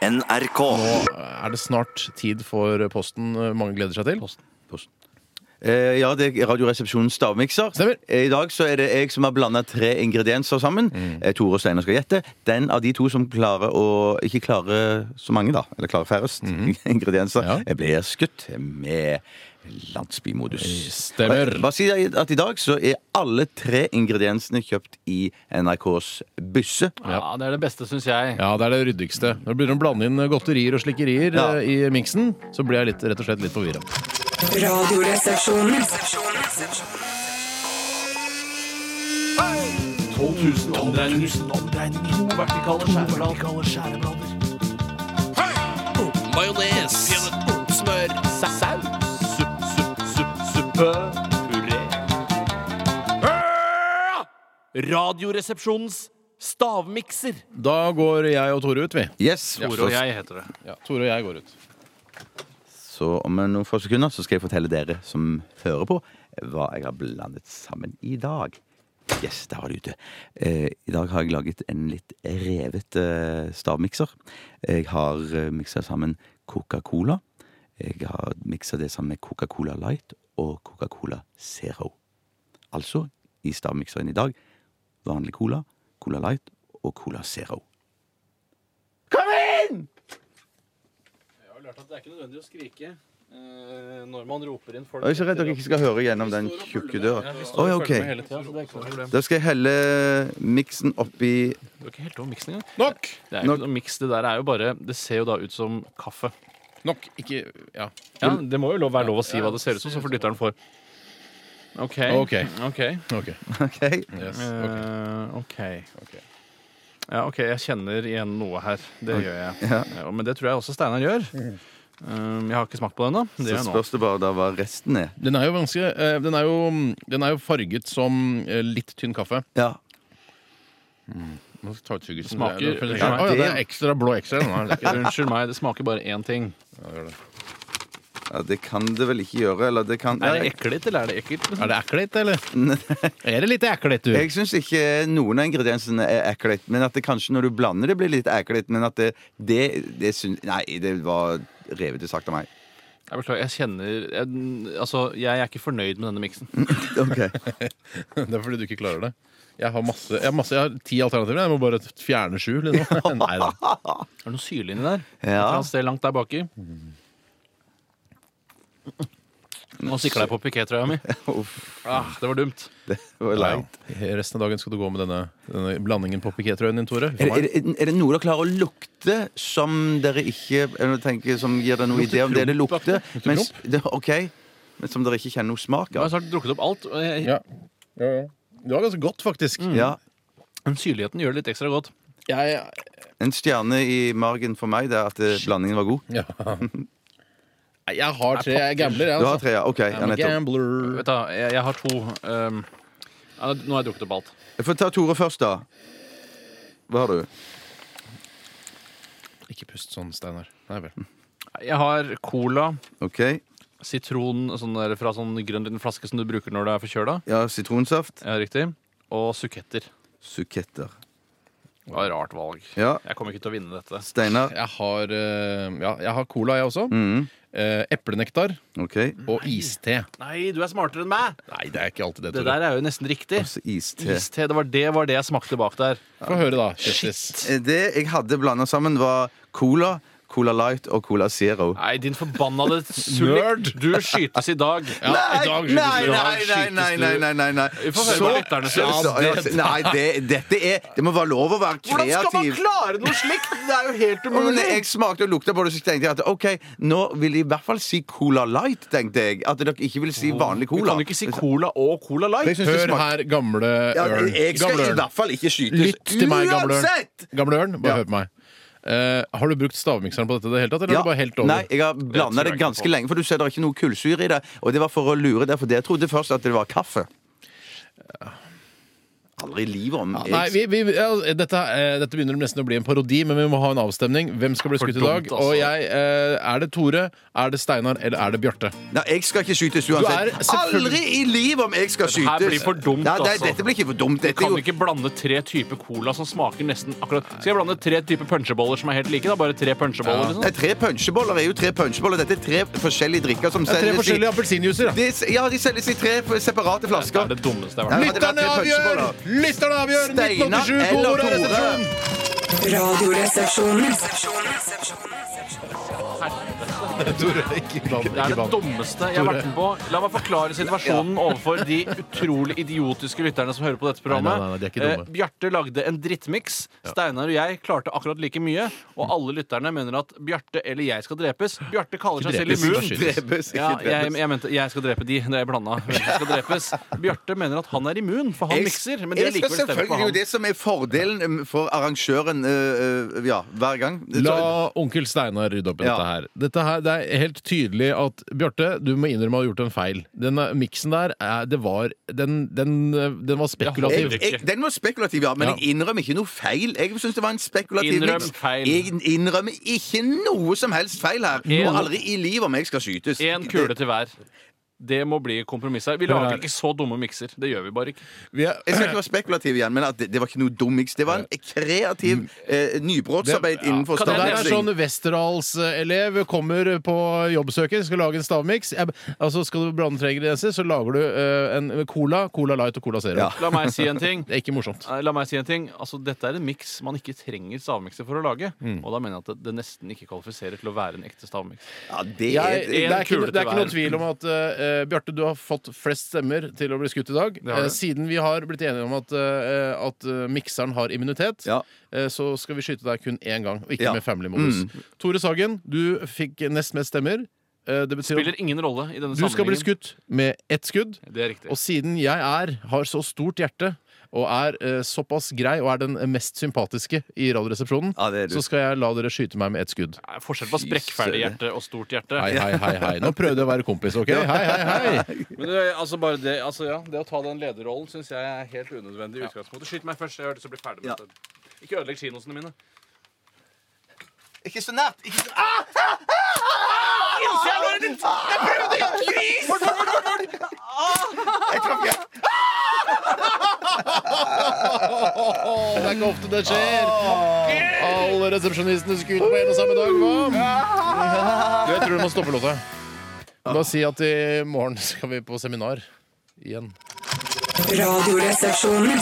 NRK. Nå er det snart tid for Posten mange gleder seg til. Eh, ja, det er Radioresepsjonens stavmikser. Stemmer. Eh, I dag så er det jeg som har blanda tre ingredienser sammen. Mm. Eh, Tore og Steinar skal gjette. Den av de to som klarer å ikke klarer så mange, da, eller klarer færrest ingredienser, Mm. Ja. jeg blir skutt med landsbymodus. Stemmer. Bare si at i dag så er alle tre ingrediensene kjøpt i NRKs bysse. Ja, Det er det beste, syns jeg. Ja, det er det ryddigste. Når du begynner å blande inn eh, godterier og slikkerier Ja. eh, i miksen, så blir jeg litt, rett og slett litt forvirra. Radioresepsjonen. Radioresepsjonens stavmikser. Da går jeg og Tore ut, vi. Yes. Tore og jeg heter det. Tore og jeg går ut. Så om noen få sekunder så skal jeg fortelle dere som hører på, hva jeg har blandet sammen i dag. Yes, der var det ute. Eh, I dag har jeg laget en litt revet eh, stavmikser. Jeg har eh, miksa sammen Coca-Cola. Jeg har miksa det sammen med Coca-Cola Light og Coca-Cola Zero. Altså, i stavmikseren i dag, vanlig cola, Cola Light og Cola Zero. Kom inn! Jeg har lært at det er ikke nødvendig å skrike eh, når man roper inn folk. Jeg er så redd dere ikke skal høre gjennom den tjukke døra. Oi, ok. Da skal jeg helle miksen oppi Du er ikke helt over miksen engang. Nok! Det er jo ikke noe miks. Det der er jo bare Det ser jo da ut som kaffe. Nok. Ikke Ja. Ja, Det må jo lov, være lov å si hva det ser ut som, så får lytteren får OK. Ok. Ok. OK. OK? Yes. ok. Eh, ok. Ok. Ja, ok, jeg kjenner igjen noe her. Det gjør jeg. Ja, men det tror jeg også Steinar gjør. Um, jeg har ikke smakt på den ennå. Det Så gjør jeg nå. spørs det bare da hva resten er. Den er jo vanskelig. eh, Den er jo, den er jo farget som eh, litt tynn kaffe. Ja. Nå skal jeg ta ut tyggelsen. Smaker- Det er- det er- Ja, Å, ja, det det- er ekstra blå ekstra. den her. Det er ikke- Unnskyld meg, det smaker bare én ting. ja, det kan det vel ikke gjøre. Eller det kan Er det ekkelt, eller er det ekkelt? liksom? Er det ekkelt, eller? Er det litt ekkelt, du? Jeg syns ikke noen av ingrediensene er ekkelt. Men at det kanskje når du blander det, blir litt ekkelt. Men at det, det, det syns Nei, det var revete sagt av meg. Jeg beklager, jeg kjenner jeg, Altså, jeg er ikke fornøyd med denne miksen. OK. Det er fordi du ikke klarer det. Jeg har masse, jeg har, masse, jeg har ti alternativer. Jeg må bare fjerne sju. Liksom. Nei da. Er det noe syrlig inni der? Et Ja. eller annet sted langt der baki? Nå sikla jeg på pikétrøya mi. Uff. Ah, det var dumt. Det var Ja. leit. Resten av dagen skal du gå med denne, denne blandingen på pikétrøyen din, Tore. For Er, er, meg. er- er det noe dere klarer å lukte som dere ikke eller tenker, Som gir dere noe idé om det det lukter? Mens, det, ok, men som dere ikke kjenner noe smak Nå har av? jeg snart drukket opp alt. Og jeg, Ja. Ja, ja. Det var ganske godt, faktisk. Mm. Ja, men syrligheten gjør det litt ekstra godt. Jeg, En stjerne i margen for meg det er at eh, blandingen var god. ja. Nei, jeg har tre. Jeg gambler, jeg. Du har Altså. tre, ja. Ok. Ja, I'm a nettopp. gambler. Vet du, hva, jeg, jeg har to ehm, ja, Nå har jeg drukket opp alt. Jeg får ta Tore først, da. Hva har du? Ikke pust sånn, Steinar. Nei vel. Jeg har cola, Ok, sitron sånn der, fra sånn grønn liten flaske som du bruker når du er forkjøla. ja, Sitronsaft. Ja, riktig. Og suketter. Suketter. Det var et rart valg. Ja. Jeg kommer ikke til å vinne dette. Steinar. Jeg har, eh, ja, jeg har cola, jeg også. Mhm, Eh, Eplenektar OK. og iste. Nei, du er smartere enn meg! Nei, det er ikke alltid det, Tore. Det der er jo nesten riktig. Så iste. Iste. Det var det, var det jeg smakte bak der. Få høre, da. Kjøttis. Eh, Det jeg hadde blanda sammen, var cola, Cola Light og Cola Zero. Nei, din forbannede sulling. Du skytes i dag. Ja, i dag skytes nei, det. nei, nei, nei, nei, nei, nei, nei. Vi får høre hva lytterne synes. Ja, det- Nei, det, dette er Det må være lov å være kreativ. klare noe slikt?! Det er jo helt Ja, Men jeg smakte og lukta på det, så tenkte jeg at OK, nå vil de i hvert fall si Cola Light, tenkte jeg. At dere ikke vil si vanlig Du cola. kan jo ikke si cola og cola Jeg light. synes det Hør smakte- her, gamle Ja, ørn. jeg skal Gamle i ørn. hvert fall ikke skytes. Lytt til meg, gamle ørn. Uansett! Gamle ørn, bare hør Ja. på meg. Eh, har du brukt stavmikseren på dette i det hele tatt? Eller har du bare helt over? Nei, jeg har blanda tror det jeg ganske på. lenge, for du ser det er ikke noe kullsyre i det. Og det var for å lure deg, for jeg trodde først at det var kaffe. Aldri i livet om jeg- Nei, vi, vi, ja, dette, eh, dette begynner nesten å bli en parodi, men vi må ha en avstemning. Hvem skal bli skutt i dag? dumt, altså. Og jeg, eh, Er det Tore, er det Steinar eller er det Bjarte? Nei, jeg skal ikke skytes Du uansett. er selvfølgelig- Aldri i livet om jeg skal skytes! her blir for dumt, Nei, nei, altså. Dette blir ikke for dumt. Dette er Kan jo- du ikke blande tre typer cola som smaker nesten akkurat Skal jeg blande tre typer punsjeboller som er helt like? da? Bare tre punsjeboller, Nei, liksom? Tre punsjeboller er jo tre punsjeboller. Dette er tre forskjellige drikker som Det er tre selges i forskjellige appelsinjuicer. da. de, Ja, de selges i tre f- separate Det er flasker. det dummeste jeg har Nei, men vært det var Lytterne tre avgjør! punsjeboller. Lytterne avgjør! Steinar 1987, på eller hvor er Tore? resepsjonen? Radioresepsjonen. Tore, ikke bland, Det er ikke det bland. dummeste jeg har vært med på. La meg forklare situasjonen overfor de utrolig idiotiske lytterne som hører på dette programmet. Nei, nei, nei, de er ikke dumme. Eh, Bjarte lagde en drittmiks. Steinar og jeg klarte akkurat like mye. Og alle lytterne mener at Bjarte eller jeg skal drepes. Bjarte kaller seg selv drepes, immun. skytes. Drepes, ikke Ja, jeg, drepes. jeg mente jeg skal drepe de. Det er blanda. Hvem som skal drepes. Bjarte mener at han er immun, for han Jeg- mikser. Men det er jeg skal likevel stemt selvfølgelig på det er jo han. det som er fordelen um, for arrangøren øh, øh, ja, hver gang. La onkel Steinar rydde opp i Ja. dette her. Dette her. Det er helt tydelig at Bjarte, du må innrømme å ha gjort en feil. Den miksen der, eh, det var Den, den, eh, den var Jeg spekulativ. holder jeg, jeg, den var spekulativ, ja, men Ja. jeg innrømmer ikke noe feil. Jeg synes det var en spekulativ Innrøm mix. feil. Jeg innrømmer ikke noe som helst feil her. En- Og aldri i livet om jeg skal skytes. Én kule til hver. Det må bli kompromiss her. Vi Hør lager her. ikke så dumme mikser. Det gjør vi bare ikke. Vi er- Jeg skal ikke være spekulativ igjen, men at det, det var ikke noe dum mix. Det var en kreativ eh, nybrottsarbeid innenfor Mm. Kan Det der er standardmixing. sånn Westerdals-elev kommer på jobbsøker, skal lage en stavmiks. Jeg- Altså, skal du blande tre ingredienser, så lager du eh, en cola, Cola Light og Cola Zero. Ja. La meg si en ting. Det er ikke morsomt. Nei, La meg si en ting. Altså, dette er en miks man ikke trenger stavmikser for å lage. Og da mener jeg at det, det nesten ikke kvalifiserer til å være en ekte stavmiks. Ja, det sånn- Jeg, er, det, er ikke, kule det er ikke til noen tvil om at eh, Bjarte, du har fått flest stemmer til å bli skutt i dag. Det har Eh, jeg. siden vi har blitt enige om at, eh, at eh, mikseren har immunitet, Ja. eh, så skal vi skyte deg kun én gang, og ikke Ja. med family modus. Mm. Tore Sagen, du fikk nest mest stemmer. Eh, det betyr Spiller at ingen rolle i denne du skal bli sammenhengen. skutt med ett skudd. Det er riktig. Og siden jeg er, har så stort hjerte og er eh, såpass grei og er den mest sympatiske i Radioresepsjonen, Ja, det er du. så skal jeg la dere skyte meg med ett skudd. Nei, Forskjell på Fy sprekkferdig søren. hjerte og stort hjerte. Hei, hei, hei. hei. Nå prøvde jeg å være kompis, OK? Hei, hei, hei. Men det, altså bare det, altså ja, det å ta den lederrollen syns jeg er helt unødvendig i utgangspunktet. Skyt meg først, jeg har lyst til å bli ferdig med Ja. dette. Ikke ødelegg kinosene mine. Ikke så nært! Ikke så... Ah! Jeg prøvde å gjøre gris! Å, det er ikke ofte det skjer. Alle resepsjonistene skutt på en og samme dag. Hva? Du, jeg tror du må stoppe låta. Bare si at i morgen skal vi på seminar igjen. Radioresepsjonen.